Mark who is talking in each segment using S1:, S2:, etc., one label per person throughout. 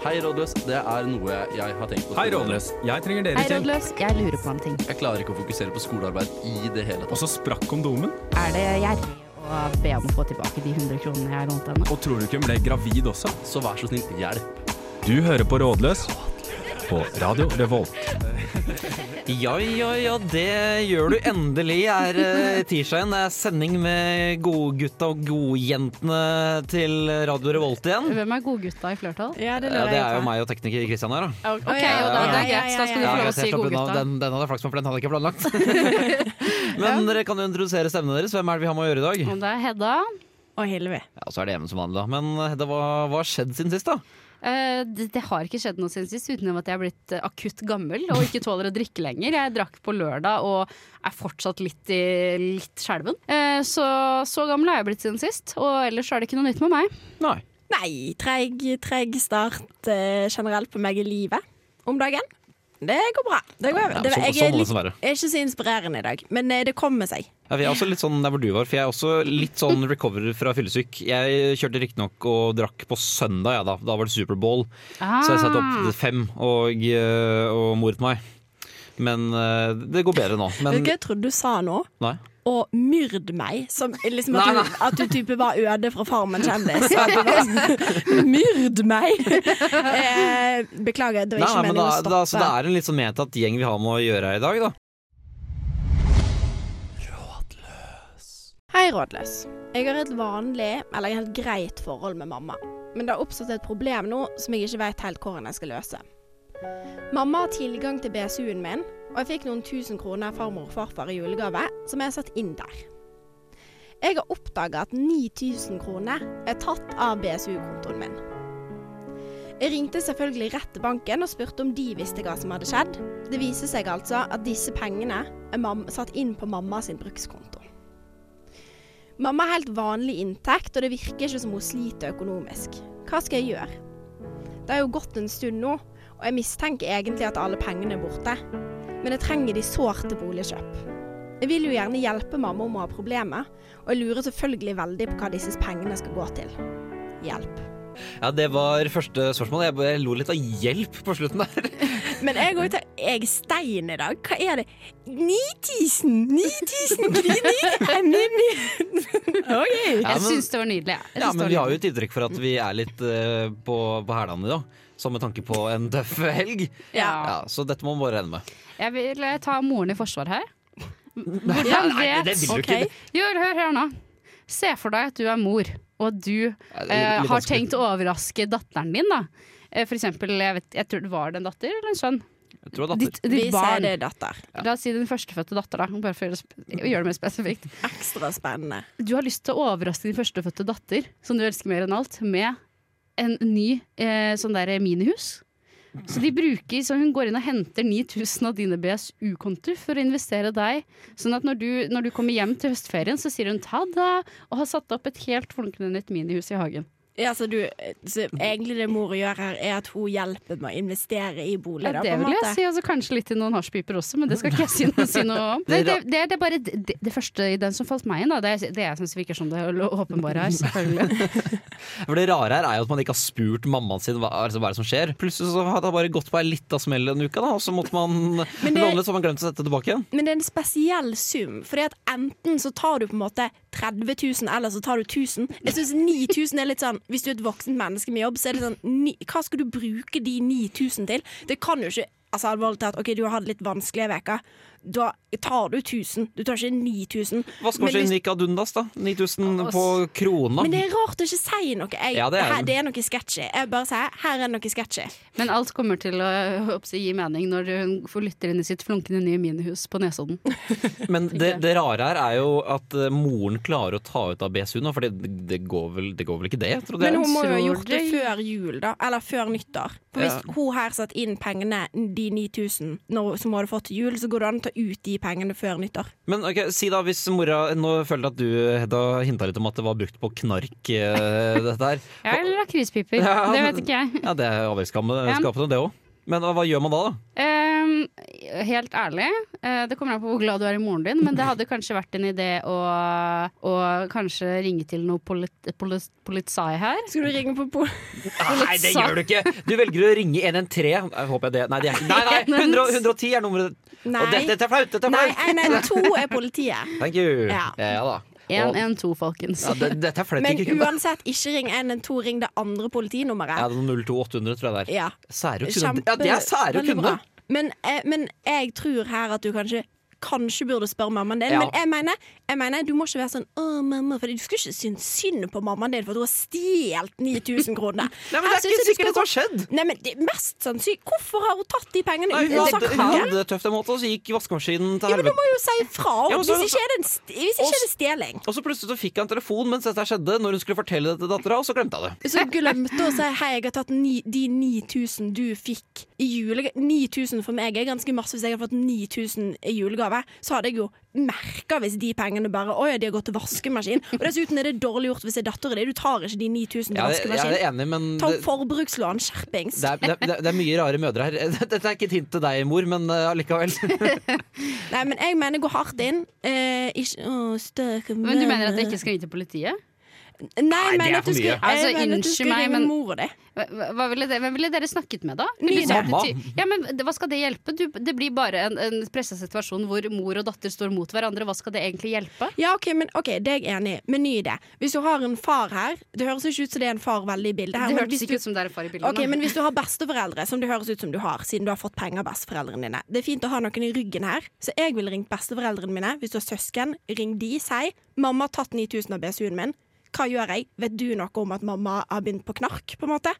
S1: Hei, rådløs. Det er noe jeg har tenkt på.
S2: Hei, Rådløs. Jeg trenger dere
S3: Hei,
S2: til.
S3: rådløs. Jeg lurer på en ting.
S1: Jeg klarer ikke å fokusere på skolearbeid i det hele tatt.
S2: Og så sprakk kondomen.
S3: Er det gjerrig å be om å få tilbake de 100 kronene jeg lånte henne?
S2: Og tror du ikke hun ble gravid også?
S1: Så vær så snill, hjelp.
S2: Du hører på Rådløs på Radio Revolt.
S4: Ja, ja, ja, det gjør du endelig. er eh, tirsdagen. Det er sending med godgutta og godjentene til Radio Revolt igjen.
S3: Hvem er godgutta i flertall?
S5: Ja, det
S4: Ja,
S5: lurer
S4: det
S5: jeg
S4: er jo
S5: på.
S4: meg og tekniker Kristian her, da.
S5: Ok,
S3: Ok,
S5: ja,
S3: jo da, det
S5: ja,
S3: er
S5: ja,
S3: greit.
S5: ja,
S3: Da skal du
S5: ja,
S3: få
S5: ja.
S3: lov
S4: jeg
S3: å si
S4: slapp unna.
S3: godgutta.
S4: Den, den hadde jeg flaks med, for den hadde jeg ikke planlagt. Men dere kan jo introdusere stemmene deres. Hvem er det vi har med å gjøre i dag?
S3: Om det er Hedda.
S5: Å, Hilvi.
S4: Ja, så er det Even som vanlig, da. Men Hedda, hva, hva har skjedd siden sist, da?
S3: Eh, det, det har ikke skjedd noe siden sist, utenom at jeg er blitt eh, akutt gammel og ikke tåler å drikke lenger. Jeg drakk på lørdag og er fortsatt litt, i, litt skjelven. Eh, så så gammel er jeg blitt siden sist, og ellers er det ikke noe nytt med meg.
S4: Nei.
S5: Nei, treig, treig start eh, generelt på meg i livet om dagen. Det går bra. Det går,
S4: Ja,
S5: det,
S4: så-
S5: jeg
S4: sånn
S5: er,
S4: må det
S5: litt,
S4: også være.
S5: jeg er ikke så inspirerende i dag, men eh, det kommer seg.
S4: Ja, vi er også litt sånn der hvor du var, for jeg er også litt sånn recover fra fyllesyk. Jeg kjørte riktignok og drakk på søndag, ja da. Da var det Superbowl. Så jeg satt opp
S5: Ah.
S4: til fem og, eh, og moret meg. Men eh, det går bedre nå. Men
S5: Vet du hva jeg trodde du sa nå?
S4: nei.
S5: Å myrde meg. Som liksom at,
S4: Nei,
S5: du, at du type var Øde fra Farmen kjendis. At du var sånn, Myrd meg! Eh, beklager, det
S4: Nei, nei, men
S5: var ikke meningen
S4: da,
S5: å
S4: da,
S5: stoppe.
S4: så det er en litt sånn medtatt gjeng vi har med å gjøre her i dag, da.
S5: Hei, rådløs. Jeg har et vanlig, eller helt greit forhold med mamma. Men det har oppstått et problem nå som jeg ikke vet helt hvordan jeg skal løse. Mamma har tilgang til BSU-en min, og jeg fikk noen tusen kroner av farmor og farfar i julegave, som jeg har satt inn der. Jeg har oppdaga at 9000 kroner er tatt av BSU-kontoen min. Jeg ringte selvfølgelig rett til banken og spurte om de visste hva som hadde skjedd. Det viser seg altså at disse pengene er mam satt inn på mamma sin brukskonto. Mamma har helt vanlig inntekt, og det virker ikke som hun sliter økonomisk. Hva skal jeg gjøre? Det er jo gått en stund nå, og jeg mistenker egentlig at alle pengene er borte. Men jeg trenger de sårt til boligkjøp. Jeg vil jo gjerne hjelpe mamma om hun har problemer, og jeg lurer selvfølgelig veldig på hva disse pengene skal gå til. Hjelp.
S4: Ja, Det var første spørsmål. Jeg bare lo litt av hjelp på slutten der.
S5: Men jeg går ut av Jeg stein i dag. Hva er det? 9000! 9000 kroner! OK.
S4: Ja,
S3: Jeg
S4: men-
S3: syns det var nydelig. jeg. Jeg
S4: Ja,
S3: synes
S4: Men
S3: det
S4: vi
S3: var
S4: har
S3: nydelig.
S4: jo et uttrykk for at vi er litt eh, på, på hælene i dag. Så med tanke på en tøff helg.
S3: Ja.
S4: Ja, Så dette må man bare regne med.
S3: Jeg vil eh, ta moren i forsvar her.
S4: Ja,
S3: Hvordan
S4: nei, det
S3: vet
S4: vil du ikke.
S3: Jo, hør her nå. Se for deg at du er mor, og du
S4: Ja, det
S3: eh,
S4: er
S3: har
S4: litt vanskelig.
S3: tenkt å overraske datteren din. da. Eh, For eksempel, jeg, vet, jeg tror det var det en datter eller en sønn.
S4: Jeg tror det er datter.
S3: Ditt, ditt barn.
S5: er datter.
S3: La oss si din førstefødte datter, da. Bare for å gjøre det sp- gjøre det mer spesifikt.
S5: Ekstra spennende.
S3: Du har lyst til å overraske din førstefødte datter, som du elsker mer enn alt, med en ny eh, sånn der minihus. Så de bruker, så hun går inn og henter 9000 av dine BSU-kontoer for å investere deg. Sånn at når du, når du kommer hjem til høstferien, så sier hun ta det, og har satt opp et helt flunkende nytt minihus i hagen.
S5: Ja, så, du, så egentlig det mor gjør her, er at hun hjelper med å investere i bolig.
S3: Ja,
S5: da,
S3: det
S5: på en
S3: vil jeg
S5: måte.
S3: si. Altså, kanskje litt til noen hasjpiper også, men det skal ikke jeg si noe, si noe om. Nei,
S4: Det
S3: det,
S4: er
S3: det, det er bare det, det første i den som falt meg inn, da. Det, er- det jeg syns virker som det åpenbare her, selvfølgelig.
S4: For det rare her er jo at man ikke har spurt mammaen sin hva, altså, hva er det som skjer. Plutselig så hadde det bare gått på ei lita smell en uke, da, og så måtte man
S5: Men det-
S4: låne litt, så man glemte å sette tilbake igjen.
S5: Men det er en spesiell sum. Fordi at enten så tar du på en måte 30 000, eller så tar du 1000. Jeg syns 9000 er litt sånn Hvis du er et voksent menneske med jobb, så er det sånn ni, Hva skal du bruke de 9000 til? Det kan jo ikke Altså alvorlig talt, OK, du har hatt litt vanskelige uker. Da tar du 1000. Du tar ikke 9000. Men hvis-
S4: Vaskemaskinen gikk ad undas, da. 9000
S3: Ass.
S4: på krona.
S5: Men det er rart å ikke si noe. Jeg,
S4: Ja, det er det.
S5: her, det er noe sketchy. Jeg bare sier her er det noe sketchy.
S3: Men alt kommer til å håper jeg, gi mening når hun får lytter inn i sitt flunkende nye minihus på Nesodden.
S4: Men det, det rare her er jo at eh, moren klarer å ta ut av BSU nå, for det, det, går, vel, det går vel ikke det? Tror
S5: Men
S4: jeg.
S5: hun må jo ha
S3: tror
S5: gjort det
S3: det-
S5: før jul, da. Eller før nyttår. For hvis hun her satt inn pengene, de 9000 når, som hun hadde fått til jul, så går det an å ta ut de pengene før nyttår.
S4: Men ok, si da hvis mora Nå føler jeg at du Hedda hinta litt om at det var brukt på knark, eh, dette her.
S3: Ja, eller lakrispiper.
S4: Ja,
S3: det
S4: men-
S3: vet ikke jeg.
S4: Ja, det er
S3: Ja.
S4: overskapende, det òg. Men hva- hva gjør man da, da?
S3: Ehm, helt ærlig, eh, det kommer an på hvor glad du er i moren din, men det hadde kanskje vært en idé å, å kanskje ringe til noe polit, polit, politsai her.
S5: Skal du ringe på pol...
S4: Nei, det gjør du ikke! Du velger å ringe 113. Jeg håper jeg det Nei, det er ikke Nei, nei 100, 110 er nummeret.
S5: Nei.
S4: Og dette, dette er flaut! Dette er
S5: Nei,
S4: flaut!
S5: 112 er politiet.
S4: Thank you.
S5: Ja.
S4: da. Og,
S3: 112, folkens.
S4: ja, det, dette er flaut.
S5: Men
S4: ikke kødd.
S5: uansett, ikke ring 112, ring det andre
S4: Ja,
S5: politinummeret.
S4: det er noe 02800, tror jeg det er.
S5: Ja.
S4: Sære og
S5: Kjempe-
S4: kunne. Ja, det er sære og
S5: veldig
S4: kunne.
S5: bra. Men, eh, men jeg tror her at du kanskje Kanskje burde spørre mammaen din,
S4: Ja.
S5: men jeg mener, jeg mener du må ikke være sånn Å, mamma, fordi du skulle ikke synes synd på mammaen din for at hun har stjålet 9000 kroner.
S4: Nei, men det
S5: Her
S4: er sånn
S5: synes
S4: ikke
S5: jeg du
S4: sikkert det
S5: skal
S4: har skjedd!
S5: gå- Nei, men det er mest sannsynlig Hvorfor har hun tatt de pengene
S4: Nei,
S5: uten
S4: hun
S5: å ha
S4: hadde
S5: sagt
S4: hun
S5: det?
S4: hadde det tøft en måte, og så gikk vaskemaskinen til
S5: Jo, men du
S4: helvete.
S5: må jo si ifra
S4: Ja, men så-
S5: hvis ikke er det en st- hvis ikke er det stjeling.
S4: Og så plutselig så fikk jeg en telefon mens dette skjedde, når hun skulle fortelle det til dattera, og så glemte jeg det.
S5: Så glemte å si hei, jeg har tatt ni, de 9000 du fikk i julegave. 9000 for meg er ganske masse. Hvis jeg hadde fått 9000 i julegave, så hadde jeg jo merka hvis de pengene bare Å ja, de har gått til vaskemaskin. Og dessuten er det dårlig gjort hvis det er dattera di. Du tar ikke de 9000 til
S4: Ja, jeg, jeg
S5: vaskemaskin.
S4: er enig, men
S5: Ta
S4: det,
S5: opp forbrukslån. Skjerpings.
S4: det, er, det, er, det er mye rare mødre her. Dette er ikke et hint til deg, mor, men eh, allikevel.
S5: Nei, men jeg mener gå hardt inn. Eh, ikke Å, støk
S3: Men du mener at jeg ikke skal ringe til politiet?
S5: Nei, jeg
S4: det er
S5: mener at
S4: for
S5: du skal
S4: mye.
S5: jeg
S3: Altså,
S5: mener at du
S3: unnskyld
S5: skal
S3: meg,
S5: ringe
S3: men-
S5: mora di.
S3: Hva, hva ville det, hvem ville dere snakket med, da?
S5: Min
S3: Liksom,
S4: mamma.
S3: bety- Ja, men det- Hva skal det hjelpe? Du, det blir bare en, en pressa situasjon hvor mor og datter står mot hverandre. Hva skal det egentlig hjelpe?
S5: Ja, ok, men ok, det er jeg enig i. Men ny idé. Hvis du har en far her Det høres ikke ut som det er en far veldig i bildet. her
S3: Det
S5: men
S3: hørtes
S5: hvis du-
S3: ikke ut som det er en far i bildet.
S5: Ok,
S3: nå.
S5: Men hvis du har besteforeldre, som det høres ut som du har, siden du har fått penger av besteforeldrene dine Det er fint å ha noen i ryggen her, så jeg ville ringt besteforeldrene mine. Hvis du har søsken, ring de, si 'mamma har tatt 9000 av BSU-en min'. Hva gjør jeg? Vet du noe om at mamma har begynt på knark? på en måte?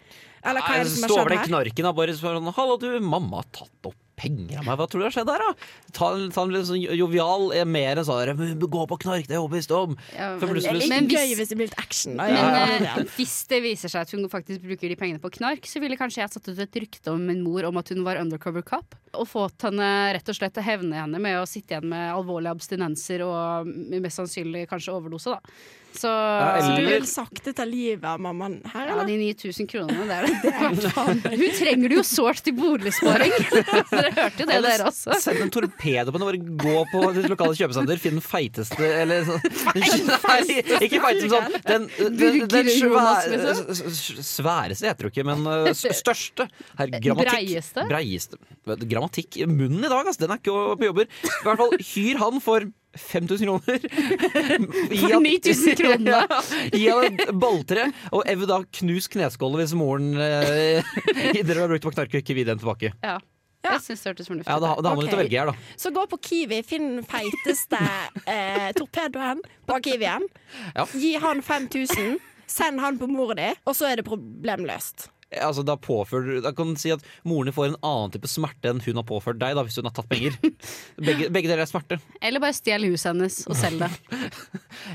S5: Eller hva er det som
S4: altså, Stå
S5: har
S4: over
S5: skjedd
S4: den
S5: her?
S4: knarken og bare spør sånn Hallo, du, mamma har tatt opp penger av meg. Hva tror du har skjedd her, da? Ta en, ta en litt sånn jovial eh, mer enn sånn «Men Gå på knark, det er jeg overbevist om.
S3: Ja,
S4: For
S5: Det er
S4: plutselig
S5: litt
S3: Men hvis-
S5: gøy hvis det blir litt action. Da.
S3: Men eh, hvis det viser seg at hun faktisk bruker de pengene på knark, så ville kanskje jeg satt ut et rykte om min mor om at hun var undercover cop, og fått henne rett og slett til å hevne henne med å sitte igjen med alvorlige abstinenser og mm, mest sannsynlig kanskje overdose, da. Så
S5: Så Altså, du
S4: eller-
S5: vil sakte ta livet av mammaen her,
S3: ja,
S5: eller?
S3: de 9000 kronene, det er det. Hun trenger det jo sårt til boligsparing! Dere hørte jo det,
S4: Eller
S3: dere også.
S4: Send en torpedo på den, og bare gå på ditt lokale kjøpesenter, finn den feiteste eller sånn Nei, ikke feiteste sånn Den, den, den
S3: Burger Jonas, liksom?
S4: svære, s- s- sværeste heter det jo ikke, men uh, s- største. Her,
S3: Eh,
S4: grammatikk.
S3: Breieste?
S4: Breieste. Vet du, Grammatikk i munnen i dag, altså. Den er ikke å- på jobber. I hvert fall hyr han for 5000 kroner.
S3: For 9000 kroner.
S4: Ja, Gi han et balltre, og ev da knus kneskålet hvis moren eh, Dere har brukt på knark, og ikke vi den tilbake.
S3: Ja. Jeg syns det hørtes fornuftig
S4: Ja, Det har det har man litt å
S5: Ok.
S4: velge her, da.
S5: Så gå på Kiwi, finn den feiteste eh, torpedoen på Kiwien.
S4: Ja.
S5: Gi han 5000, send han på mora di, og så er det problemløst.
S4: Altså, da, påfører, da kan du si at moren din får en annen type smerte enn hun har påført deg da, hvis hun har tatt penger. Begge, begge deler er smerte.
S3: Eller bare stjel huset hennes og selg det.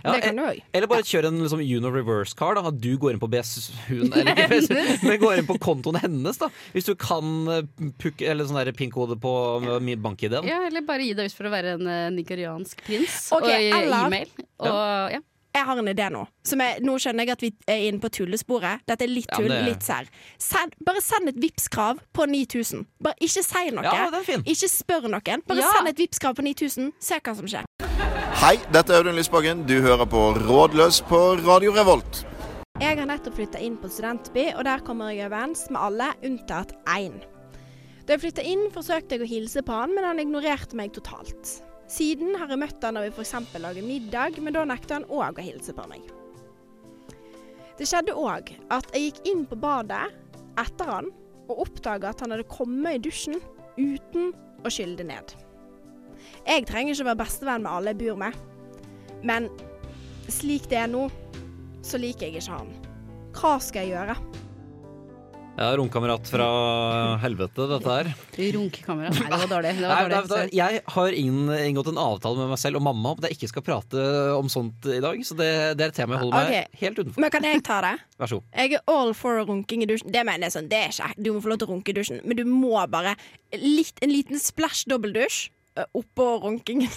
S4: Ja,
S5: det
S4: e-
S5: kan du òg.
S4: eller bare kjør en liksom, Uno reverse car. Da. At du går inn på BS, hun, eller ikke BS, men går inn på kontoen hennes. Da. Hvis du kan eh, puk, eller sånn der pin-kode på eh, min bank-ID-en.
S3: Ja, eller bare gi deg ut for å være en eh, nigeriansk prins
S5: Ok,
S3: og i
S5: eller-
S3: e-mail. Og ja.
S5: Jeg har en idé nå. Som jeg, nå skjønner jeg at vi er inne på tullesporet. Dette er litt
S4: Ja,
S5: tull,
S4: men det-
S5: litt sær. Send, bare send et Vipps-krav på 9000. Bare ikke si noe.
S4: Ja, den er fin.
S5: Ikke spør noen. Bare
S3: Ja.
S5: send et Vipps-krav på 9000, se hva som skjer.
S6: Hei, dette er Audun Lysbakken. Du hører på Rådløs på Radio Revolt.
S5: Jeg har nettopp flytta inn på studentby, og der kommer jeg overens med alle unntatt én. Da jeg flytta inn, forsøkte jeg å hilse på han, men han ignorerte meg totalt. Siden har jeg møtt han når vi f.eks. lager middag, men da nekta han òg å hilse på meg. Det skjedde òg at jeg gikk inn på badet etter han og oppdaga at han hadde kommet i dusjen uten å skylle det ned. Jeg trenger ikke å være bestevenn med alle jeg bor med, men slik det er nå, så liker jeg ikke han. Hva skal jeg gjøre?
S4: Ja, Romkamerat fra helvete, dette her.
S3: Runkekamera. Nei, det var dårlig. Det
S4: Nei,
S3: var
S4: nei, vet du hva,
S3: dårlig.
S4: jeg har inn, inngått en avtale med meg selv og mamma om at jeg ikke skal prate om sånt i dag. Så det, det er et tema jeg holder meg
S5: Ok.
S4: helt utenfor.
S5: Men kan jeg ta det?
S4: Vær så god.
S5: Jeg er all for runking i dusjen. Det mener jeg sånn, det er ikke Du må få lov til å runke i dusjen, men du må bare litt, en liten splash dobbeldusj eh, oppå runkingen.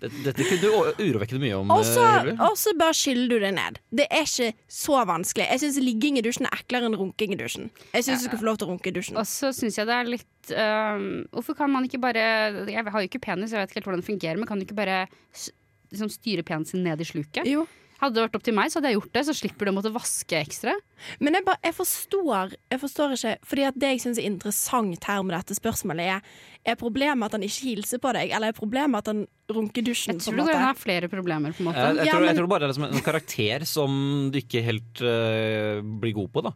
S4: Dette, dette kunne du å- urovekkende mye om.
S5: Og så
S4: eh, Hilary.
S5: og så bare skyller du det ned. Det er ikke så vanskelig. Jeg syns ligging i dusjen er eklere enn runking i dusjen. Jeg syns du skal få lov til å runke i dusjen.
S3: Og så syns jeg det er litt ehm, øhm, Hvorfor kan man ikke bare Jeg har jo ikke penis, jeg vet ikke helt hvordan det fungerer, men kan du ikke bare s- liksom, styre penisen ned i sluket.
S5: Jo.
S3: Hadde det vært opp til meg, så hadde jeg gjort det. Så slipper du å måtte vaske ekstra.
S5: Men jeg, bare, jeg, forstår, jeg forstår ikke Fordi at det jeg syns er interessant her med dette spørsmålet, er Er problemet at han ikke hilser på deg, eller er problemet at han runker dusjen?
S3: Jeg
S5: på
S3: tror
S5: en
S3: det går an å
S5: måte?
S3: ha flere problemer, på en måte.
S4: Jeg, jeg,
S5: Ja,
S4: tror, jeg
S5: men-
S4: tror bare det er liksom en karakter som du ikke helt eh, blir god på, da.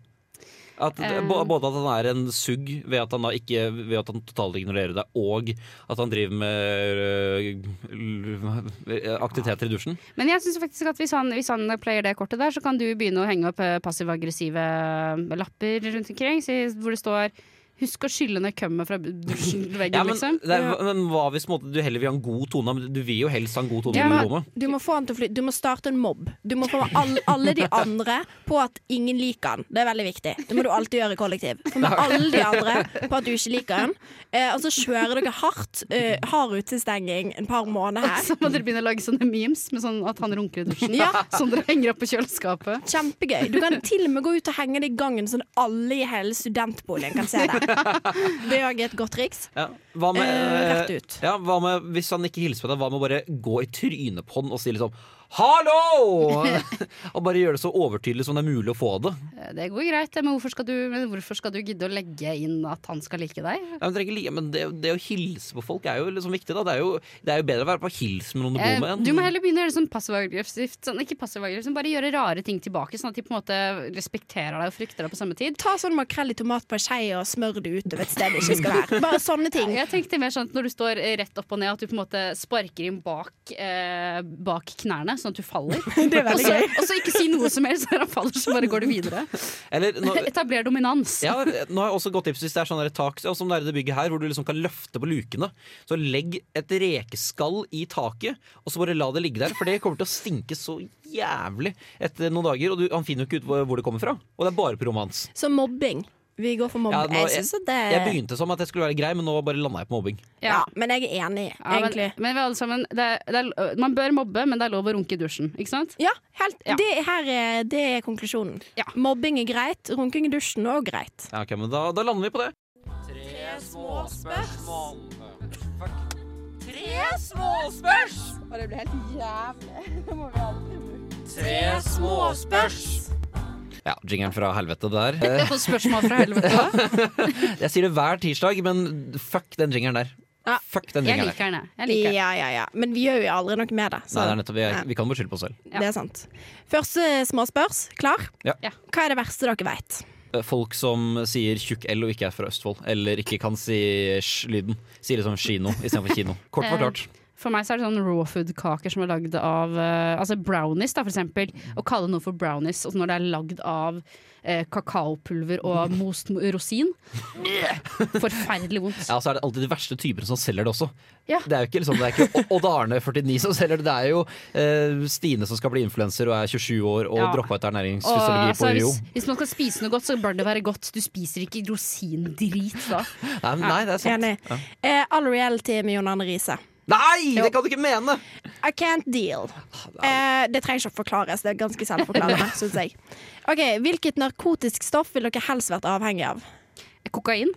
S4: At,
S3: Eh.
S4: bo- både at han er en sugg ved at han da ikke Ved at han totalt ignorerer deg, og at han driver med eh, l- aktiviteter i dusjen.
S3: Men jeg synes faktisk at hvis han, hvis han player det kortet der, så kan du begynne å henge opp eh, passiv-aggressive eh, lapper rundt omkring si, hvor det står 'Husk å skylle ned kømmet fra dusjveggen',
S4: Ja, men,
S3: liksom.
S4: det er, men hva hvis på en måte, du heller vil ha en god tone? Men du vil jo helst ha en god tone
S5: Ja.
S4: i rommet.
S5: Du må få han til å fly Du må starte en mobb. Du må få all, alle de andre på at ingen liker han. Det er veldig viktig. Det må du alltid gjøre i kollektiv. Få med alle de andre på at du ikke liker han. Eh, og så kjører dere hardt. Eh, hard utestenging en par måneder her.
S3: Så må dere begynne å lage sånne memes med sånn at han runker i dusjen.
S5: Ja.
S3: Som dere henger opp på kjøleskapet.
S5: Kjempegøy. Du kan til og med gå ut og henge det i gangen, sånn alle i hele studentboligen kan se det. Det er også et godt triks.
S4: Ja. Hva med,
S5: Eh, rett ut.
S4: Ja, hva med, hvis han ikke hilser på deg, hva med å bare gå i trynet på han og si liksom 'hallo'? og bare gjøre det så overtydelig som det er mulig å få det.
S3: Eh, Det går greit, men hvorfor, skal du, men hvorfor skal du gidde å legge inn at han skal like deg?
S4: Ja, men, trenger ikke like, men det, det å hilse på folk er jo liksom viktig, da. Det er jo, det er jo bedre å være på hils med noen du
S3: Eh,
S4: bor med. enn-
S3: Du må heller begynne å gjøre det sånn passiv-aggressivt. Sånn, ikke passiv-aggressivt, men bare gjøre rare ting tilbake, sånn at de på en måte respekterer deg og frykter deg på samme tid.
S5: Ta sånn makrell i tomat på en skei og smør det utover et sted det ikke skal være. Bare sånne ting.
S3: Jeg tenkte mer sånn at når du står eh, rett opp og ned, at du på en måte sparker inn bak, eh, bak knærne, sånn at du faller.
S5: Det er
S3: Og
S5: veldig
S3: så-
S5: gøy.
S3: Og så ikke si noe som helst når han faller, så bare går du videre.
S4: Eller, nå,
S3: Etabler dominans.
S4: ja, nå har jeg også godt tips hvis det er sånn der tak og som det er i det bygget her, hvor du liksom kan løfte på lukene. Så legg et rekeskall i taket, og så bare la det ligge der. For det kommer til å stinke så jævlig etter noen dager. Og du, han finner jo ikke ut hvor hvor det kommer fra. Og det er bare på rommet hans.
S5: Så mobbing. Vi går for
S4: Ja,
S5: mobbing.
S4: nå-
S5: jeg synes at det
S4: Jeg begynte som at jeg skulle være grei, men nå bare landa jeg på mobbing.
S5: ja, Men jeg er enig,
S3: Ja, men,
S5: egentlig.
S3: men vi alle sammen, det er, det er, man bør mobbe, men det er lov å runke i dusjen. Ikke sant?
S5: Ja, helt,
S3: Ja.
S5: Det, her er, det er konklusjonen.
S3: Ja.
S5: Mobbing er greit, runking i dusjen er også greit.
S4: Ja, ok, men da, da lander vi på det. Ja, jingeren fra helvete der.
S3: Jeg får spørsmål fra helvete.
S4: Jeg sier det hver tirsdag, men fuck den jingeren der.
S5: Ja.
S4: Fuck den
S3: Jeg
S4: jingeren der.
S3: liker den, jeg. jeg. Liker den.
S5: Ja, ja, ja. Men vi gjør jo aldri noe med det. Så
S4: Nei, det er nettopp, vi, er, vi kan beskylde på oss selv.
S3: Ja.
S5: det er sant. Første småspørs. Klar?
S4: Ja.
S3: Ja.
S5: Hva er det verste dere vet?
S4: Eh, Folk som sier tjukk L og ikke er fra Østfold, eller ikke kan si sj-lyden, sier liksom kino istedenfor kino. Eh, Kort forklart.
S3: For meg så er det sånn raw food-kaker som er lagd av eh, Altså brownies, da, for eksempel. Å kalle noe for brownies og når det er lagd av eh, kakaopulver og most mo- rosin. Forferdelig vondt.
S4: Ja, så er det alltid de verste typene som selger det også.
S3: Ja.
S4: Det er jo ikke, liksom, det er ikke O- Odd Arne 49 som selger det, det er jo eh, Stine som skal bli influenser og er 27 år og
S3: Ja.
S4: droppa ut
S3: Og,
S4: ernæringsfysiologi
S3: altså,
S4: på UiO.
S3: hvis, hvis man skal spise noe godt, så bør det være godt. Du spiser ikke rosindrit da.
S4: Nei, men nei, det er sant.
S5: Enig. Eh, all reality med Jon Arne Riise.
S4: Nei, det kan du ikke mene!
S5: I can't deal. Eh, det trenger ikke å forklares. Det er ganske selvforklarende, syns jeg. Ok, Hvilket narkotisk stoff ville dere helst vært avhengig av?
S3: Kokain?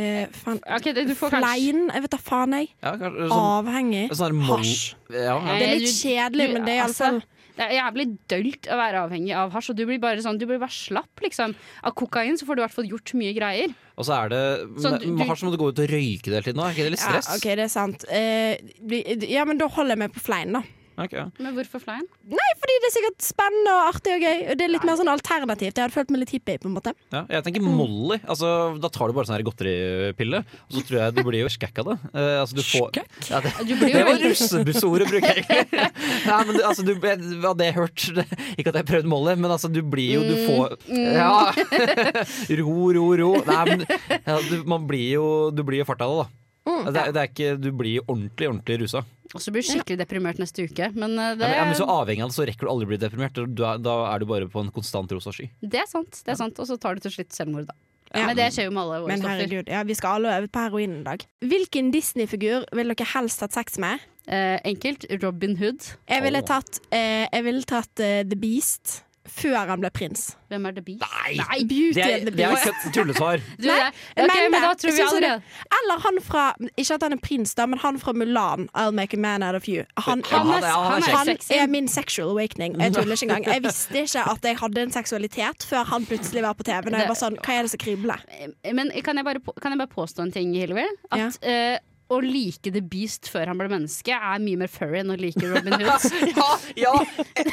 S5: Eh, faen.
S3: Ok, det- du får kanskje
S5: Flein? Jeg vet da faen, jeg.
S4: Ja, kanskje, sånn,
S5: Avhengig.
S4: sånn der mol-
S5: Hasj.
S4: Ja, ja.
S5: Det er
S3: Du-
S5: litt kjedelig,
S3: du-
S5: men det er
S3: altså,
S5: iallfall
S3: Det er jævlig dølt å være avhengig av hasj, og du blir bare sånn Du blir bare slapp, liksom. Av kokain så får du i hvert fall gjort mye greier.
S4: Og så er det
S3: Så du-
S4: men-
S3: du-
S4: Har så må du gå ut og røyke det hele tiden. da? Er ikke det litt
S5: ja,
S4: stress?
S5: OK, det er sant. Eh, bli- ja, men da holder jeg meg på flein, da.
S4: Ok, ja.
S3: Men hvorfor flein?
S5: Fordi det er sikkert spennende og artig og gøy. Og det er litt mer sånn alternativt. Jeg hadde følt meg litt hippie, på en måte.
S4: Ja, jeg tenker Molly. Altså, da tar du bare sånn her godteripille, og så tror jeg du blir jo skækk av det. Eh, altså, du får, ja, det
S3: Du blir
S4: det
S3: jo
S4: var
S3: veldig
S4: russebussordet, bruker jeg egentlig. Nei, men du, altså, du, jeg- av det jeg har hørt Ikke at jeg har prøvd Molly, men altså, du blir jo Du får Ja! Ro, ro, ro. Nei, men ja, du, man blir jo Du blir jo fart av det, da. Altså, det, er- det er ikke, du blir jo ordentlig, ordentlig rusa.
S3: Og så blir du skikkelig deprimert neste uke. Men eh,
S4: Ja,
S3: det,
S4: men, ja, men så avhengig av det, så rekker du aldri å bli deprimert. Du er, da er du bare på en konstant rosa sky.
S3: det er sant. det er sant Og så tar du til slutt selvmord, da.
S5: Ja.
S3: Men det skjer jo med alle våre
S5: Men
S3: stoffer.
S5: herregud, ja, vi skal alle øve på heroin en dag. Hvilken Disney-figur ville dere helst hatt sex med?
S3: Eh, enkelt. Robin Hood.
S5: Jeg ville
S4: Åh.
S5: tatt, eh, jeg ville tatt eh, The Beast. før han ble prins.
S3: Hvem er The Beast?
S4: Nei!
S5: Beauty
S4: Det er,
S5: and the
S4: det er
S5: Beast.
S4: ikke et tullesvar.
S3: Du,
S5: Nei,
S3: jeg- ok,
S5: men
S3: men da
S5: det-
S3: tror vi
S5: synes jeg det-
S3: allerede
S5: Eller han fra Ikke at han er prins, da, men han fra Mulan. I'll make a man out of you. Han,
S4: Ja,
S3: Han
S4: han
S3: er,
S4: er- han er
S5: han
S3: han er sexy.
S5: er min sexual awakening. Jeg tuller ikke engang. Jeg visste ikke at jeg hadde en seksualitet før han plutselig var på TV. Når jeg var sånn, Hva er det som kribler?
S3: Men kan jeg, bare, på- kan jeg bare påstå en ting, Hillevi? At eh, å like The Beast før han ble menneske, er mye mer furry enn å like Robin Hood.
S4: Ja, ja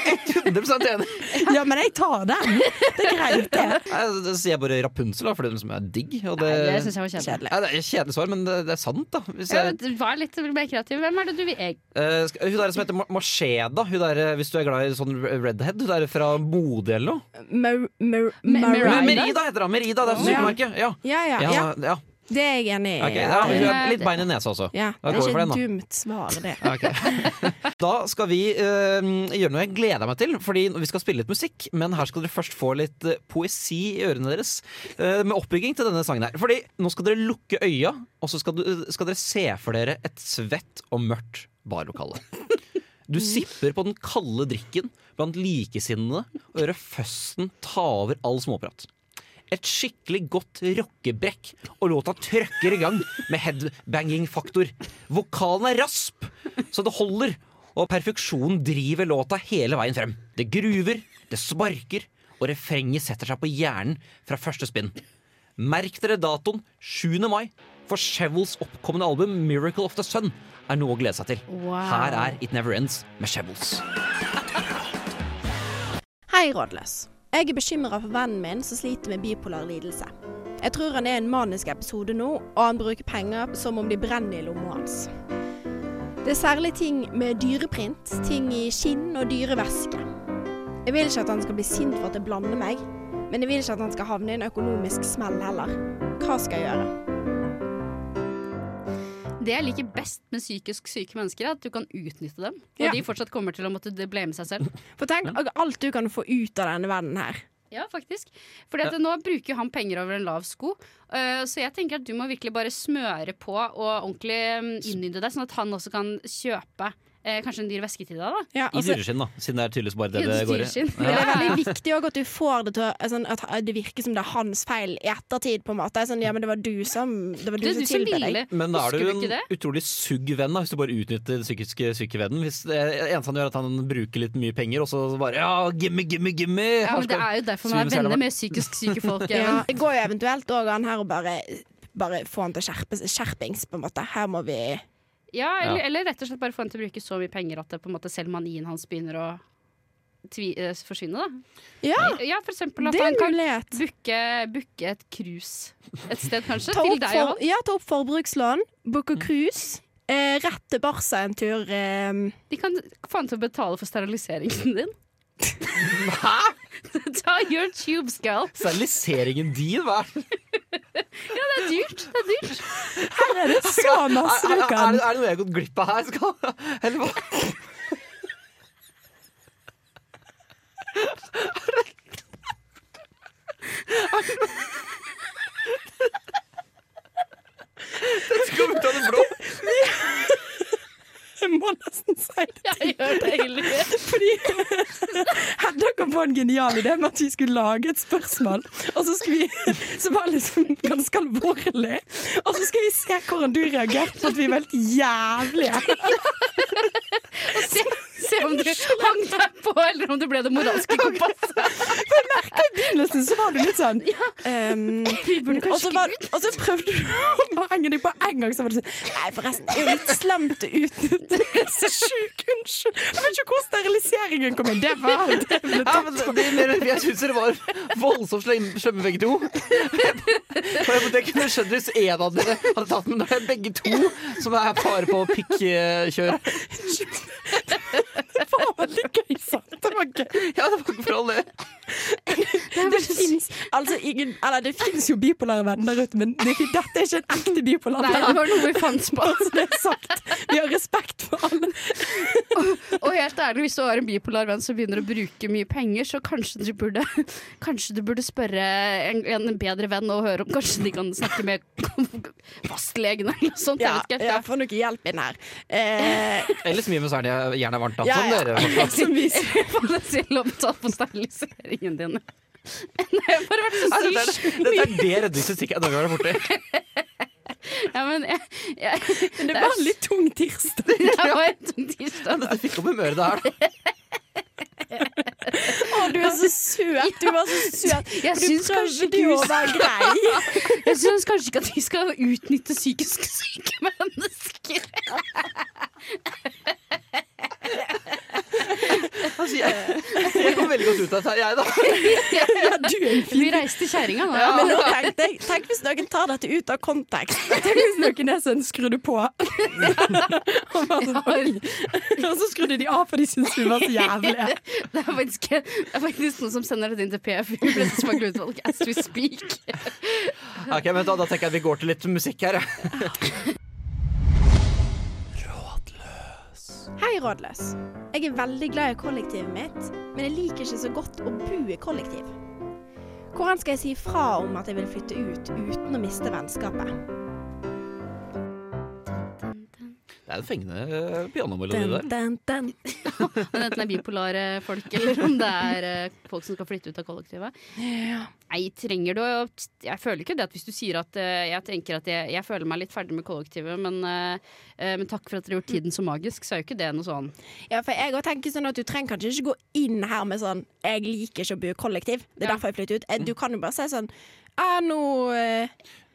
S4: 100 enig.
S5: Ja, men jeg tar den! Det er greit, det.
S4: Nei, Da sier jeg bare Rapunzel, da, for det er den som er digg. Og det,
S3: Nei, det syns jeg var kjedelig.
S4: Ja, det er et kjedelig svar, men det, det er sant, da. Hvis
S3: Ja,
S4: jeg,
S3: men Vær litt mer kreativ. Hvem er det du vil jeg-
S4: Eh, skal- hun der som heter Ma- Macheda, hun der, hvis du er glad i sånn redhead, hun der fra Mode eller noe.
S5: Mer, mer,
S3: Me-
S5: Merida?
S3: Merida?
S4: Merida heter hun! Merida, det er
S5: Ja.
S4: supermarkedet. Ja.
S5: Ja, ja,
S4: Ja,
S5: ja.
S4: ja.
S5: Det er jeg enig i.
S4: ok, ja, hun
S3: Ja.
S4: har litt bein i nesa også.
S5: Ja,
S4: Da
S5: Det
S4: går vi
S5: er
S4: for den,
S5: ikke
S4: da.
S5: et dumt svar, det.
S4: Da skal vi eh, gjøre noe jeg gleder meg til, fordi vi skal spille litt musikk. Men her skal dere først få litt eh, poesi i ørene deres, eh, med oppbygging til denne sangen her. Fordi nå skal dere lukke øya, og så skal, du, skal dere se for dere et svett og mørkt barlokale. Du sipper på den kalde drikken blant likesinnede og hører føsten ta over all småprat. Et skikkelig godt rockebrekk, og låta trøkker i gang med headbanging-faktor. Vokalen er rasp, så det holder, og perfeksjonen driver låta hele veien frem. Det gruver, det sparker, og refrenget setter seg på hjernen fra første spinn. Merk dere datoen 7. mai, for Chevels oppkommende album 'Miracle of the Sun' er noe å glede seg til.
S3: Wow.
S4: Her er 'It Never Ends' med Chevels.
S7: Hei, rådløs. Jeg er bekymra for vennen min som sliter med bipolar lidelse. Jeg tror han er i en manisk episode nå, og han bruker penger som om de brenner i lomma hans. Det er særlig ting med dyreprint, ting i skinn og dyrevæske. Jeg vil ikke at han skal bli sint for at jeg blander meg, men jeg vil ikke at han skal havne i en økonomisk smell heller. Hva skal jeg gjøre?
S3: Det jeg liker best med psykisk syke mennesker, er at du kan utnytte dem. Og
S5: Ja.
S3: de fortsatt kommer til å måtte blame seg selv.
S5: For tenk alt du kan få ut av denne verden her.
S3: Ja, faktisk. Fordi at nå bruker jo han penger over en lav sko, øh, så jeg tenker at du må virkelig bare smøre på og ordentlig um, innynde deg, sånn at han også kan kjøpe eh, kanskje en dyr væske til deg, da.
S5: Ja,
S4: I
S5: altså,
S4: dyreskinn, da, siden det er tydeligvis bare det
S3: Ja,
S4: det går i.
S3: dyreskinn.
S5: Men det er
S3: Ja.
S5: veldig viktig også at du får det til å- altså, At det virker som det er hans feil i ettertid. på en måte sånn, Ja, men det var du som Det var du,
S3: Det er du som
S5: tilbød deg.
S3: ville.
S4: Men da er
S3: Husker
S4: du
S3: du
S4: en
S3: ikke det?
S4: utrolig sugg venn da, hvis du bare utnytter den psykiske syke vennen. Hvis det eneste han gjør, er at han bruker litt mye penger, og så bare ja, gimme, gimme, gimme.
S3: Ja, men det er jo derfor man er
S4: Svimmelsel,
S3: venner med psykisk syke folk.
S5: Ja.
S3: Even.
S5: Det går jo eventuelt òg an her å bare, bare få han til å skjerpe seg- skjerpings, på en måte. Her må vi
S3: Ja, eller,
S4: Ja.
S3: eller rett og slett bare få han til å bruke så mye penger at det på en måte selv manien hans begynner å tvi eh, forsvinne, da.
S5: Ja!
S3: Ja, for eksempel at
S5: Det er
S3: han
S5: en
S3: kan
S5: mulighet.
S3: booke, booke et cruise et sted, kanskje.
S5: Ta
S3: Til
S5: opp,
S3: deg og
S5: for,
S3: han.
S5: ja, ta opp forbrukslån, booke cruise, eh, rett til Barca en tur. Eh,
S3: De kan få han til å betale for steriliseringen din. Hæ?! Ta your tube skull.
S4: Steriliseringen din, hva er det?
S3: Det er dyrt. det er dyrt
S5: her er det så masse
S4: Er,
S5: du
S4: er, er,
S5: kan!
S4: det- er det noe jeg har gått glipp av her? Skal? Eller hva? Dette kom ut av det blå.
S5: Jeg må nesten si det.
S3: Jeg gjør det heller.
S5: Fordi Hedda kom på en genial idé med at vi skulle lage et spørsmål Og så skulle vi Som var liksom ganske alvorlig Og så skulle vi se hvordan du reagerte På at vi var helt jævlige
S3: Se, se om du hang deg på, eller om det ble det moralske kompasset.
S5: I begynnelsen så var du litt sånn ehm, og, så var, og så prøvde du å bare henge deg på en gang Så var det sånn Nei forresten, det er jo litt slemt å utnytte Det er så syk, unnskyld Jeg vet ikke hvor steriliseringen kom inn Det var det ble
S4: Ja, men det, det, men jeg syns dere var voldsomt slem- slemme begge to. Og jeg, jeg kunne skjønt hvis en av dere hadde tatt men det er begge to som er fare på pikkjør.
S5: Det var veldig gøy, sant? Det var gøy
S4: Ja, det var ikke for all det.
S5: Det finnes,
S8: altså ingen Eller det fins jo bipolare venner der ute, men det, dette er ikke en ekte bipolar
S3: Nei, det
S8: venn.
S3: var noe vi fant på.
S8: Bare så det er sagt. Vi har respekt for alle.
S3: Og helt ærlig, hvis du har en bipolar venn som begynner å bruke mye penger, så kanskje du burde, kanskje du burde spørre en, en bedre venn og høre om kanskje de kan snakke med fastlegen eller noe sånt.
S8: Ja,
S3: jeg vet ikke.
S8: jeg får noe hjelp inn her. Eh,
S4: Eller så mye med særlig gjerne varmt Sånn
S8: Ja,
S4: annet som
S8: ja.
S4: dere.
S8: som vi
S3: Faen, jeg sier lov til å ta på steriliseringen din. Nei, jeg har bare vært så
S4: Dette er
S3: sykt
S4: det er det redningsstikket Norge har vært borti.
S3: ja, men jeg, jeg,
S8: men det var en litt tung tirsdag.
S3: Det var et tirsdag.
S4: Dette fikk opp humøret det her. da.
S8: Å, du er så søt! Du var så søt.
S3: Jeg syns kanskje,
S8: Prøvde jo å være grei.
S3: jeg syns kanskje ikke at vi skal utnytte psykisk syke mennesker.
S4: Altså, jeg, jeg kom veldig godt ut av dette, her, jeg, da.
S8: Ja, du er en fin
S3: Vi reiste til kjerringa nå.
S8: Men nå tenkte jeg, tenk hvis noen tar dette ut av kontekst. Tenk hvis noen er sånn skrur du på. og, bare sånn, «Oi». og så skrudde de av, for de syntes vi var så jævlige.
S3: Det er faktisk, det er faktisk noen som sender dette inn til PF. Vi ble så smakelig utvalg as we speak.
S4: Ok, men da, da tenker jeg at vi går til litt musikk her. jeg.
S7: Hei, rådløs. Jeg er veldig glad i kollektivet mitt, men jeg liker ikke så godt å bo i kollektiv. Hvordan skal jeg si fra om at jeg vil flytte ut uten å miste vennskapet?
S4: Det er en fengende eh, pianomelodi der.
S8: Den, den, den.
S3: Men enten det er bipolare folk, eller om det er eh, folk som skal flytte ut av kollektivet. Nei, trenger du å- Jeg føler ikke det at hvis du sier at eh, jeg tenker at jeg, jeg føler meg litt ferdig med kollektivet, men, eh, eh, men takk for at dere har gjort tiden så magisk, så er jo ikke det noe sånn.
S5: Ja, for jeg også tenker sånn at Du trenger kanskje ikke gå inn her med sånn 'jeg liker ikke å bo i kollektiv'. Det
S3: Ja. Mm.
S5: er derfor jeg flytter ut. Eh, Du kan jo bare si sånn ah, nå, eh,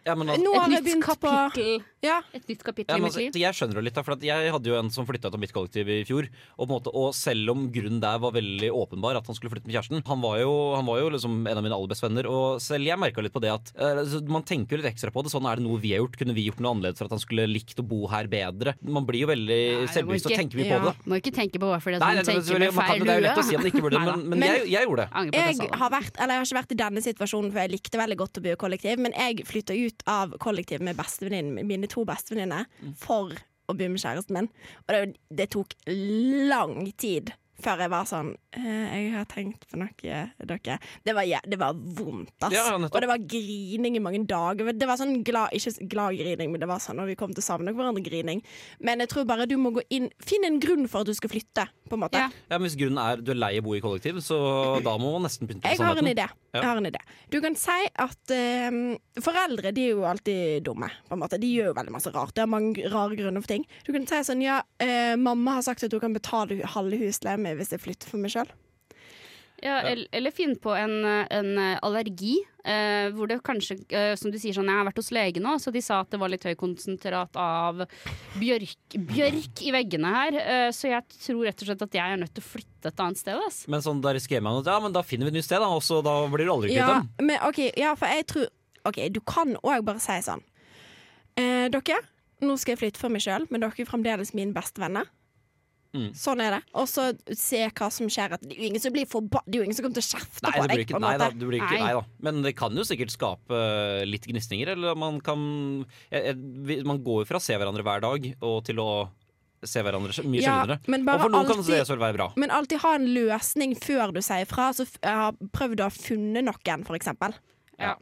S4: Ja, men,
S5: nå har
S3: Et
S5: jeg
S3: nytt
S5: begynt på
S3: kapittel,
S5: Ja,
S3: et nytt kapittel
S4: Ja,
S3: i
S4: men
S3: mitt
S4: altså,
S3: liv.
S4: jeg skjønner det litt, da, for at jeg hadde jo en som flytta ut av mitt kollektiv i fjor. Og, på en måte, og selv om grunnen der var veldig åpenbar, at han skulle flytte med kjæresten Han var jo, han var jo liksom en av mine aller beste venner, og selv jeg merka litt på det at eh, altså, Man tenker jo litt ekstra på det. Sånn er det noe vi har gjort. Kunne vi gjort noe annerledes for at han skulle likt å bo her bedre? Man blir jo veldig
S3: Nei, det må
S4: selvbevisst og
S3: ikke-
S4: tenker mye
S5: ja.
S4: på det. da.
S3: Må ikke tenke på hvorfor det er sånn.
S4: Nei, nei, det, er
S3: tenker med
S4: selvfølgelig- man kan-
S3: feil
S4: det er jo
S3: lue.
S4: lett å si at man ikke burde det,
S3: Neida.
S4: men, men jeg, jeg gjorde det.
S3: Angrer på at jeg sa
S5: jeg
S3: det.
S5: har vært, eller jeg har ikke vært i denne situasjonen, for jeg likte veldig godt å bo i kollektiv, men jeg flytta ut av kollektiv med bestevenninnen- mine to bestevenninner
S4: Mm.
S5: for å bo med kjæresten min. Og det, det tok lang tid før jeg var sånn eh, Jeg har tenkt på noe, dere. Det var, jæ- det var vondt, ass.
S4: Ja, nettopp.
S5: og det var grining i mange dager. Det var sånn glad, ikke så glad grining, men det var sånn når vi kom til å savne hverandre-grining. Men jeg tror bare du må gå inn Finn en grunn for at du skal flytte, på en måte.
S3: Ja.
S4: Ja, men Hvis grunnen er du er lei av å bo i kollektiv, så da må man nesten pynte på
S5: Jeg har en
S4: sannheten.
S5: idé. Jeg har en idé. Du kan si at eh, foreldre de er jo alltid dumme. På en måte. De gjør jo veldig masse rart. Det er mange rare grunner for ting. Du kan si sånn ja, eh, mamma har sagt at hun kan betale hu- halve husleien min hvis jeg flytter for meg sjøl.
S3: Ja, el- Eller finn på en, eh, en eh, allergi. Eh, hvor det kanskje, eh, som du sier sånn, Jeg har vært hos lege nå, så de sa at det var litt høy konsentrat av bjørk, bjørk i veggene her. Eh, så jeg tror rett og slett at jeg er nødt til å flytte et annet sted. ass.
S4: Men sånn, da risikerer man at ja, men da finner vi et nytt sted, da, og så da blir du aldri kvitt
S5: Ja,
S4: dem.
S5: men OK, ja, for jeg tror OK, du kan òg bare si sånn eh, Dere, nå skal jeg flytte for meg sjøl, men dere er fremdeles mine bestevenner.
S4: Mm.
S5: Sånn er det. Og så se hva som skjer. At det er jo ingen som blir forba Det er jo ingen som kommer til å kjefte
S4: Nei, det
S5: på
S4: blir
S5: deg. på
S4: ikke,
S5: en
S4: nei, da,
S5: måte.
S4: det blir ikke,
S3: Nei.
S4: nei da. Men det kan jo sikkert skape eh, litt gnisninger. Eller man kan jeg, jeg, vi- Man går jo fra å se hverandre hver dag og til å se hverandre sj- mye
S5: Ja,
S4: sjeldnere.
S5: men
S4: Og
S5: bare
S4: for noen kan
S5: alltid-
S4: det så være bra.
S5: Men alltid ha en løsning før du sier fra. Så f- jeg har prøvd å ha funnet noen, for eksempel.
S3: Ja.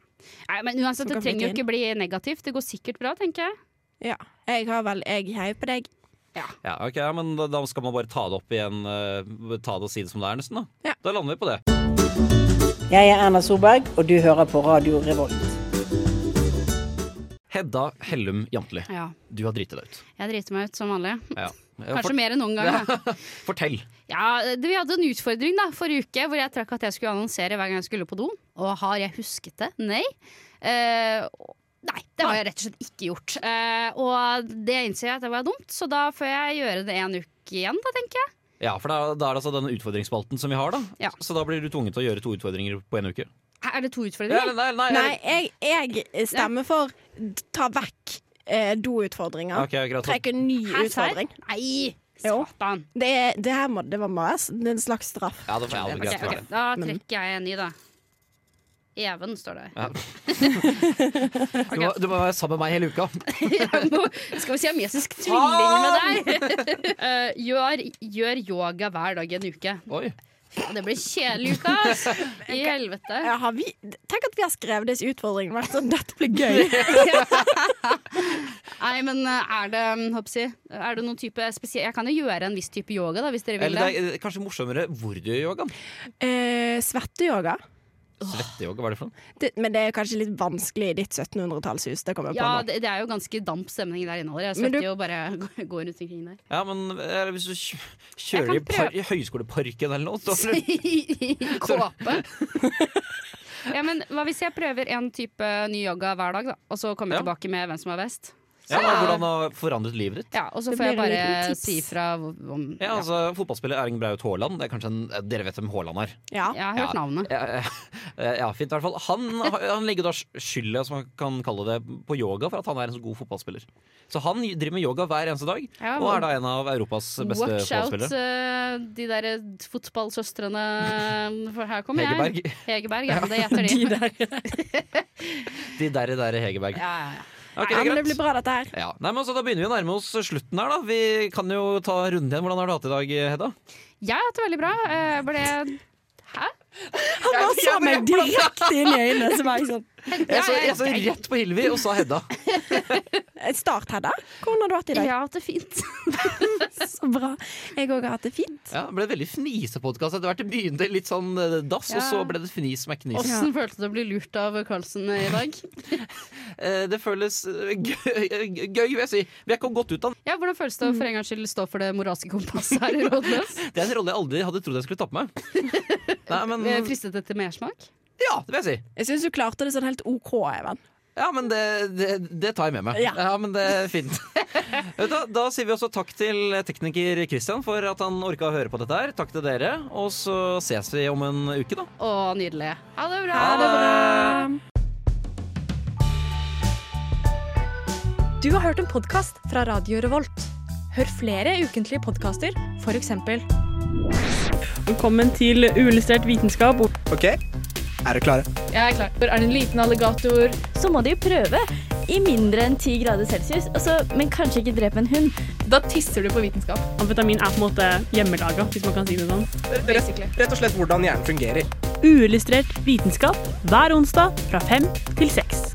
S3: Nei, men uansett,
S5: Som
S3: det
S5: kan flytte
S3: trenger jo
S5: inn.
S3: ikke bli negativt. Det går sikkert bra, tenker jeg.
S5: Ja. Jeg har vel Jeg heier på deg.
S4: Ja, ok, ja, men da, da skal man bare ta det opp igjen. eh, ta det og si det som det er, nesten. Da
S5: Ja.
S4: Da lander vi på det.
S9: Jeg er Erna Solberg, og du hører på Radio Revolt.
S4: Hedda Hellum Jantli,
S3: Ja.
S4: du har driti deg ut.
S3: Jeg driter meg ut som vanlig.
S4: Ja. Ja,
S3: Kanskje
S4: fort-
S3: mer enn noen gang. da.
S4: Fortell.
S3: Ja, det, vi hadde en utfordring da, forrige uke hvor jeg trakk at jeg skulle annonsere hver gang jeg skulle på do. Og har jeg husket det? Nei. Eh, nei, det har jeg rett og slett ikke gjort. Eh, og det innser jeg at det var dumt, så da får jeg gjøre det en uke igjen, da, tenker jeg.
S4: Ja, for da, da er det altså denne utfordringsspalten som vi har, da.
S3: Ja.
S4: Så da blir du tvunget til å gjøre to utfordringer på en uke.
S3: Hæ, Er det to
S4: Ja,
S3: utfordringer?
S4: eller nei, nei,
S5: Nei, jeg, jeg stemmer for d- ta vekk eh, doutfordringer.
S4: Ok, greit.
S5: Trekk en ny
S3: Hæ, serr?
S5: utfordring.
S3: Nei!
S5: Jo.
S3: Satan.
S5: Det, er- det her må det var mas. Det er en slags straff.
S4: Ja, det var ja, det var
S3: Ok,
S4: greit.
S3: ok, Da trekker jeg en ny, da. Even, står det.
S4: Ja. Du, må, du må være sammen med meg hele uka.
S3: Jeg må, skal vi si amesisk tvilling med deg? Eh, gjør, gjør yoga hver dag i en uke.
S4: Oi.
S3: Det blir kjedelig, Lukas. I helvete.
S5: Ja, har vi, tenk at vi har skrevet disse utfordringene. Vært sånn, dette blir gøy.
S3: Nei, men eh, er det, hm, håper jeg, å si, er det noen type spesiell Jeg kan jo gjøre en viss type yoga, da, hvis dere vil
S4: Eller
S3: det.
S4: det er kanskje morsommere hvor du gjør yogaen.
S5: Eh, Svetteyoga.
S4: Svetteyoga, hva er det for noe?
S5: Det, men det er kanskje litt vanskelig i ditt 1700-tallshus. Det kommer jeg på
S3: Ja,
S5: nå.
S3: det, det er jo ganske damp stemning der inne allerede. Jeg
S5: Men du-
S3: svetter jo bare går går rundt omkring der.
S4: Ja, men eller hvis du kj- kjører i,
S3: Jeg kan
S4: par, i Høgskoleparken eller noe, så har du
S3: I kåpe. Ja, men hva hvis jeg prøver en type ny yoga hver dag, da? Og så kommer jeg
S4: Ja.
S3: tilbake med hvem som er best?
S4: ja, hvordan har forandret livet ditt?
S3: Ja, og så
S5: Det
S3: får jeg
S5: blir en
S3: bare
S5: liten tips.
S3: si fra hvor- om
S4: Ja, altså Fotballspiller Erling Braut Haaland. Det er kanskje en, Dere vet hvem Haaland er?
S5: Ja.
S3: Jeg har hørt
S4: Ja.
S3: navnet.
S4: Ja, ja, ja, fint i hvert fall. Han, han legger da skylda, som man kan kalle det, på yoga for at han er en så god fotballspiller. Så han driver med yoga hver eneste dag,
S3: Ja,
S4: og er
S3: men-
S4: da en av Europas beste
S3: Watch out,
S4: fotballspillere.
S3: eh, de der fotballsøstrene eh, For her kommer
S4: Hegerberg.
S3: jeg. Hegerberg. Ja, det heter de.
S4: De derre der Hegerberg.
S3: Ja, ja, ja.
S4: Ok,
S5: ja, men det
S4: greit.
S5: blir bra, dette her.
S4: Ja. Nei, men så Da begynner vi å nærme oss slutten her, da. Vi kan jo ta runden igjen. Hvordan har du hatt det i dag, Hedda?
S3: Jeg har hatt det veldig bra. Jeg ble Hæ?
S8: Han bare så meg direkte inn i øynene. Så var jeg sånn
S4: Jeg så, jeg så rett på Hilvi og sa Hedda.
S5: Eh, Start, Hedda. Hvordan har du hatt det i
S3: Jeg
S5: dag?
S3: har hatt det fint.
S5: Så bra. Jeg òg har hatt det fint.
S4: Ja, det ble en veldig fnisepodkast etter hvert. Det begynte litt sånn eh, dass, og så
S3: Ja.
S4: ble det fnis med knis.
S3: Åssen følte du å bli lurt av Carlsen i dag?
S4: Eh, Det føles eh, gøy, gøy, vil jeg si. Vi er ikke godt ut av
S3: Ja, Hvordan føles det å for en gangs skyld stå for det moralske kompasset her i Rådløs?
S4: Det er en rolle jeg aldri hadde trodd jeg skulle ta på meg. Nei, men
S3: Eh, Fristet etter mersmak?
S4: Ja, det vil jeg si.
S5: Jeg syns du klarte det sånn helt OK, Even.
S4: Ja, men det, det, det tar jeg med meg.
S5: Ja.
S4: men det er fint. Vet du hva, da sier vi også takk til tekniker Christian for at han orka å høre på dette her. Takk til dere. Og så ses vi om en uke, da.
S3: Å, nydelig. Ha det bra!
S10: Du har hørt en podkast fra Radio Revolt. Hør flere ukentlige podkaster, f.eks.
S8: Velkommen til uillustrert vitenskap.
S11: Ok, er dere klare?
S10: Jeg er klar. Er det en liten alligator?
S8: Så må de prøve i mindre enn 10 grader celsius, Altså, men kanskje ikke drepe en hund.
S10: Da tisser du på vitenskap.
S8: Amfetamin er på en måte hjemmelaga, hvis man kan si det sånn.
S10: Basically.
S11: Rett og slett hvordan hjernen fungerer.
S8: Uillustrert vitenskap hver onsdag fra fem til seks.